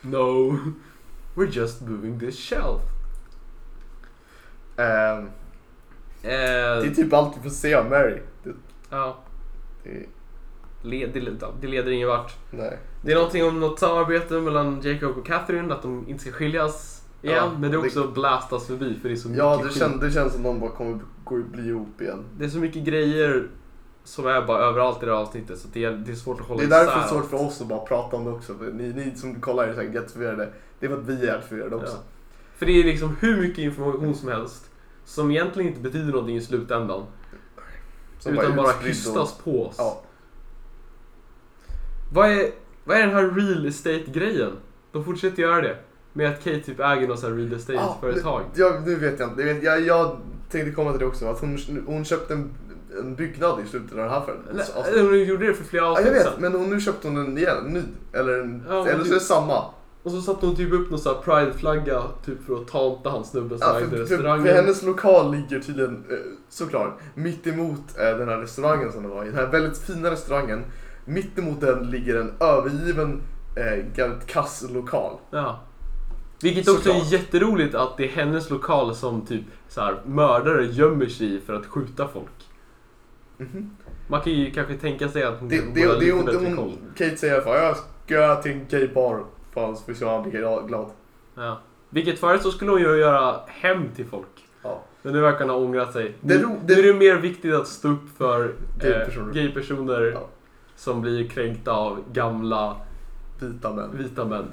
Speaker 1: No. We're just moving this shelf.
Speaker 2: Ehm, det är
Speaker 1: Eh,
Speaker 2: typ allt vi får se av Mary. Det,
Speaker 1: ja,
Speaker 2: det,
Speaker 1: led, det, led- det leder ingen vart.
Speaker 2: nej.
Speaker 1: Det är någonting om något samarbete mellan Jacob och Catherine, att de inte ska skiljas igen.
Speaker 2: Ja,
Speaker 1: men det är
Speaker 2: det-
Speaker 1: också blastas förbi för det är så mycket
Speaker 2: Ja, det,
Speaker 1: skit.
Speaker 2: kän, det känns som de bara kommer gå, bli ihop igen.
Speaker 1: Det är så mycket grejer som är bara överallt i det här avsnittet så det är, det är svårt att hålla
Speaker 2: Det är därför
Speaker 1: isär.
Speaker 2: svårt för oss att bara prata om det också. För ni, ni som kollar är säkert jätteförvirrade. Det är för att vi är förvirrade också.
Speaker 1: Ja. För det är liksom hur mycket information som helst som egentligen inte betyder någonting i slutändan.
Speaker 2: Som
Speaker 1: utan bara
Speaker 2: utspridd och-
Speaker 1: hystas på oss.
Speaker 2: Ja.
Speaker 1: Vad är, vad är den här real estate-grejen? De fortsätter göra det. Med att Kate typ äger något sånt här real estate-företag.
Speaker 2: Ah, nu- ja, nu vet jag inte. Jag, vet, jag, jag tänkte komma till det också. Att hon, hon köpte en, en byggnad i slutet av den här för,
Speaker 1: Nej,
Speaker 2: avsnittet.
Speaker 1: Hon gjorde det för flera
Speaker 2: Ja, jag
Speaker 1: avsnitt
Speaker 2: vet,
Speaker 1: sedan.
Speaker 2: men hon, nu köpte hon en igen, en ny. Eller, en,
Speaker 1: Ja, hon
Speaker 2: eller så är det
Speaker 1: typ-
Speaker 2: samma.
Speaker 1: Och så satte hon typ upp någon sån här pride-flagga typ för att tanta han snubben som
Speaker 2: Ja,
Speaker 1: ägde
Speaker 2: för, för, för
Speaker 1: restaurangen.
Speaker 2: hennes lokal ligger tydligen, eh, såklart, mitt emot eh, den här restaurangen som det var i. Den här väldigt fina restaurangen. Mitt emot den ligger en övergiven eh, galet kass lokal.
Speaker 1: Ja. Vilket också
Speaker 2: Såklart.
Speaker 1: är jätteroligt att det är hennes lokal som typ så här, mördare gömmer sig i för att skjuta folk.
Speaker 2: Mhm.
Speaker 1: Man kan ju kanske tänka sig att hon
Speaker 2: Det,
Speaker 1: borde
Speaker 2: det,
Speaker 1: ha
Speaker 2: det, det,
Speaker 1: lite
Speaker 2: hon,
Speaker 1: bättre
Speaker 2: det
Speaker 1: koll.
Speaker 2: hon, Kate säger i alla fall, jag ska till en gaybar. Fan, så får vi se om han blir glad- glad.
Speaker 1: Ja. Vilket förut så skulle hon ju göra hem till folk.
Speaker 2: Ja.
Speaker 1: Men nu verkar hon ha ångrat sig.
Speaker 2: Det
Speaker 1: nu,
Speaker 2: ro-
Speaker 1: nu
Speaker 2: det-
Speaker 1: är det mer viktigt att stå upp för
Speaker 2: Gaypersoner.
Speaker 1: eh, gaypersoner
Speaker 2: Ja.
Speaker 1: som blir kränkta av gamla
Speaker 2: Vita män.
Speaker 1: vita män.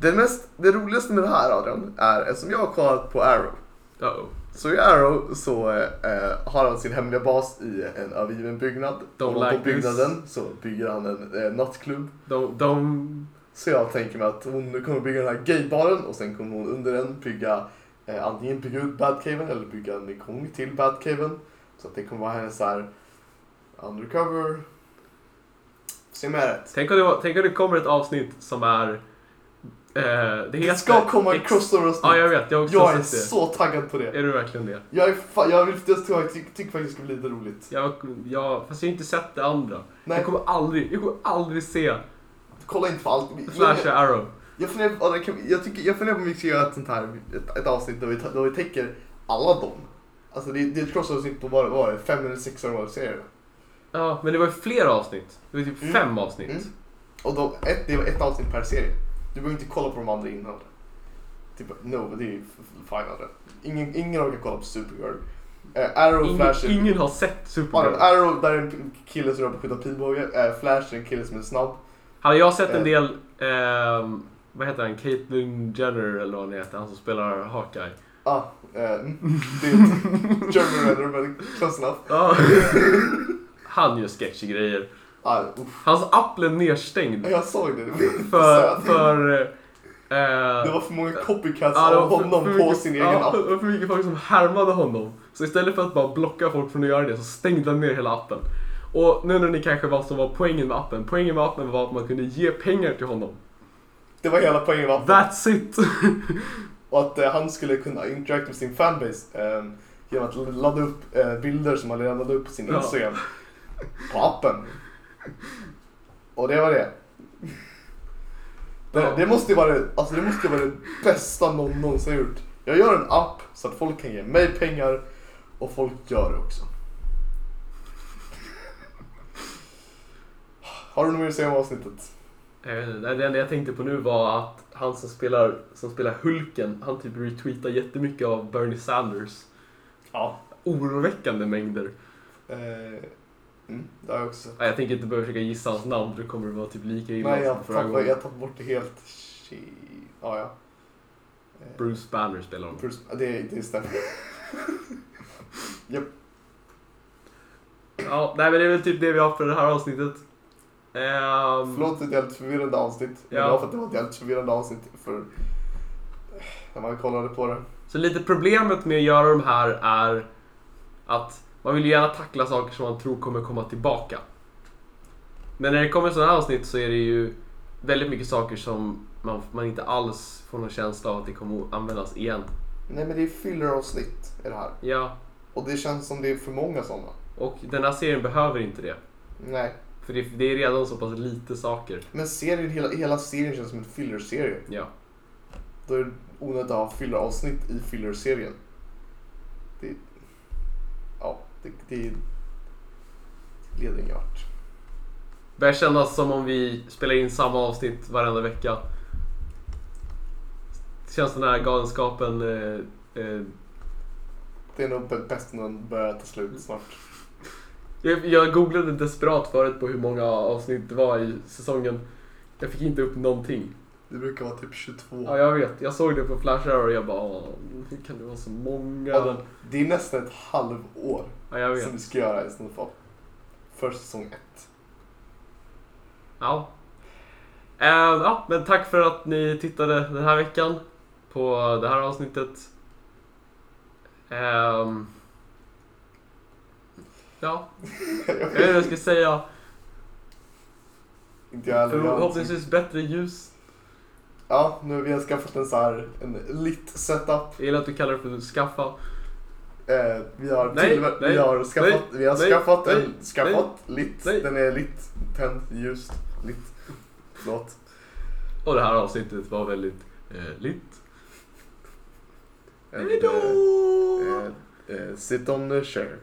Speaker 2: Det, mest, det roligaste med det här Adrian, är eftersom jag har kollat på Arrow.
Speaker 1: Uh-oh.
Speaker 2: Så i Arrow så eh, har han sin hemliga bas i en övergiven byggnad.
Speaker 1: Don't
Speaker 2: och
Speaker 1: like this.
Speaker 2: på byggnaden så bygger han en eh, nattklubb.
Speaker 1: De, de...
Speaker 2: Så jag tänker mig att hon kommer bygga den här gaybaren och sen kommer hon under den bygga eh, antingen bygga ut Badcaven eller bygga en gång till Badcaven. Så att det kommer vara hennes så här undercover. Se om jag har rätt.
Speaker 1: Tänk, om det var, tänk om det kommer ett avsnitt som är Eh, det heter...
Speaker 2: Det ska komma en
Speaker 1: Ex-
Speaker 2: crossover
Speaker 1: Ja,
Speaker 2: avsnitt.
Speaker 1: jag vet. Jag har också
Speaker 2: Jag är
Speaker 1: sett det.
Speaker 2: så taggad på det.
Speaker 1: Är du verkligen det?
Speaker 2: Jag, är fa- jag, vill, jag tror- jag tycker tycker faktiskt det ska bli lite roligt.
Speaker 1: Jag, jag, fast jag har inte sett det andra.
Speaker 2: Nej,
Speaker 1: Jag kommer aldrig, jag kommer aldrig se
Speaker 2: kolla inte på allt.
Speaker 1: Flash och Arrow.
Speaker 2: Jag funderar, på- ja, det kan- jag, tycker, jag funderar på om vi ska göra ett sånt här ett, ett avsnitt där vi, ta- där vi täcker alla dem. Alltså det, det är ett crossavsnitt på bara, bara fem eller sex år av serier.
Speaker 1: Ja, men det var ju flera avsnitt. Det var typ
Speaker 2: Mm.
Speaker 1: fem avsnitt.
Speaker 2: Mm. Och de, ett, det var ett avsnitt per serie. Du behöver inte kolla på de andra innan. Typ, no, det är ju f- f- fine. Andra. Ingen, ingen orkar kolla på Supergirl. Eh, Arrow,
Speaker 1: Ingen,
Speaker 2: Flash... är-
Speaker 1: ingen har sett
Speaker 2: Ja,
Speaker 1: Supergirl.
Speaker 2: Arrow, där är en kille som jobbar på skjuta pilbåge. Eh, Flash är en kille som är snabb.
Speaker 1: Hade jag sett
Speaker 2: Eh.
Speaker 1: en del, ehm, vad heter han, Caitlyn Jenner eller vad han heter, han som spelar Hawkeye.
Speaker 2: Ah, eh, mm, det är ett German Renner, men close enough.
Speaker 1: Ja. han gör sketchy grejer.
Speaker 2: Ah, uff.
Speaker 1: Hans app blev nedstängd
Speaker 2: Jag såg det. Det var
Speaker 1: för...
Speaker 2: för,
Speaker 1: för eh,
Speaker 2: Det var för många copycats
Speaker 1: Ja, det
Speaker 2: av
Speaker 1: var för-
Speaker 2: honom
Speaker 1: Alltså, för
Speaker 2: på
Speaker 1: mycket-
Speaker 2: sin
Speaker 1: ja,
Speaker 2: egen app.
Speaker 1: det var för mycket folk som härmade honom. Så istället för att bara blocka folk från att göra det så stängde han ner hela appen. Och nu undrar ni kanske vad som var poängen med appen. Poängen med appen var att man kunde ge pengar till honom.
Speaker 2: Det var hela poängen med appen.
Speaker 1: That's it!
Speaker 2: Och att eh, han skulle kunna interagera med sin fanbase eh, genom att ladda upp eh, bilder som han redan laddat upp på sin
Speaker 1: Ja.
Speaker 2: Instagram. På appen. Och det var det. Det,
Speaker 1: Ja.
Speaker 2: det måste ju vara det, alltså det, måste ju vara det bästa någon någonsin har gjort. Jag gör en app så att folk kan ge mig pengar och folk gör det också. Har du något mer att säga om avsnittet?
Speaker 1: Jag vet inte, Det enda jag tänkte på nu var att han som spelar, som spelar Hulken, han typ retweetar jättemycket av Bernie Sanders.
Speaker 2: Ja.
Speaker 1: Oroväckande mängder.
Speaker 2: Eh, mm, det har jag också.
Speaker 1: Nej, Jag tänker inte börja försöka gissa hans namn för det kommer vara typ lika illa
Speaker 2: Nej, jag
Speaker 1: som förra
Speaker 2: tappade,
Speaker 1: gången.
Speaker 2: jag tappade bort det helt. Shit. Ja, ja. Eh,
Speaker 1: Bruce Banner spelar honom.
Speaker 2: Bruce- det, det stämmer.
Speaker 1: Ja, nej men det är väl typ det vi har för det här avsnittet. Ehm,
Speaker 2: Förlåt att det är ett förvirrande avsnitt. Men
Speaker 1: Ja.
Speaker 2: det var för att det var ett helt förvirrande avsnitt för när man kollade på det.
Speaker 1: Så lite problemet med att göra de här är att man vill ju gärna tackla saker som man tror kommer komma tillbaka. Men när det kommer sådana här avsnitt så är det ju väldigt mycket saker som man, man inte alls får någon känsla av att det kommer att användas igen.
Speaker 2: Nej, men det är filleravsnitt i det här.
Speaker 1: Ja,
Speaker 2: Och det känns som det är för många sådana.
Speaker 1: och den här serien behöver inte det.
Speaker 2: Nej,
Speaker 1: För det, det är redan så pass lite saker.
Speaker 2: men serien, hela, hela serien känns som en fillerserie.
Speaker 1: Ja.
Speaker 2: Då är det onödigt att ha filleravsnitt i fillerserien. Det... Ja, det, det leder ingen vart.
Speaker 1: Börjar kännas som om vi spelar in samma avsnitt varenda vecka. Känns den här galenskapen eh, eh,
Speaker 2: Det är nog bä- bäst när den börjar ta slut snart.
Speaker 1: Jag, jag googlade desperat förut på hur många avsnitt det var i säsongen. Jag fick inte upp någonting.
Speaker 2: Det brukar vara typ 22.
Speaker 1: Ja, jag vet. Jag såg det på Flash Arrow och jag bara "Åh, hur kan det vara så många?
Speaker 2: Ja, det är nästan ett halvår
Speaker 1: Ja, jag
Speaker 2: som
Speaker 1: vet.
Speaker 2: vi ska göra i sådana fall. För säsong ett.
Speaker 1: Ja. Eh, ja, men tack för att ni tittade den här veckan på det här avsnittet. Ehm, ja, jag vet inte vad jag ska säga.
Speaker 2: Inte jag heller. Jag har inte-
Speaker 1: Förhoppningsvis bättre ljus.
Speaker 2: Ja, nu har vi skaffat en så här en lit setup.
Speaker 1: Jag gillar att du kallar det för skaffa.
Speaker 2: Eh, vi har,
Speaker 1: Nej,
Speaker 2: tillver-
Speaker 1: nej,
Speaker 2: vi har skaffat, vi har
Speaker 1: nej,
Speaker 2: skaffat
Speaker 1: nej,
Speaker 2: en, skaffat lit.
Speaker 1: nej.
Speaker 2: Den är lit, tänd, ljust, lit. Förlåt.
Speaker 1: Och det här avsnittet var väldigt eh, litet.
Speaker 2: And,
Speaker 1: Hejdå!
Speaker 2: eh, eh, eh, sit on the chair.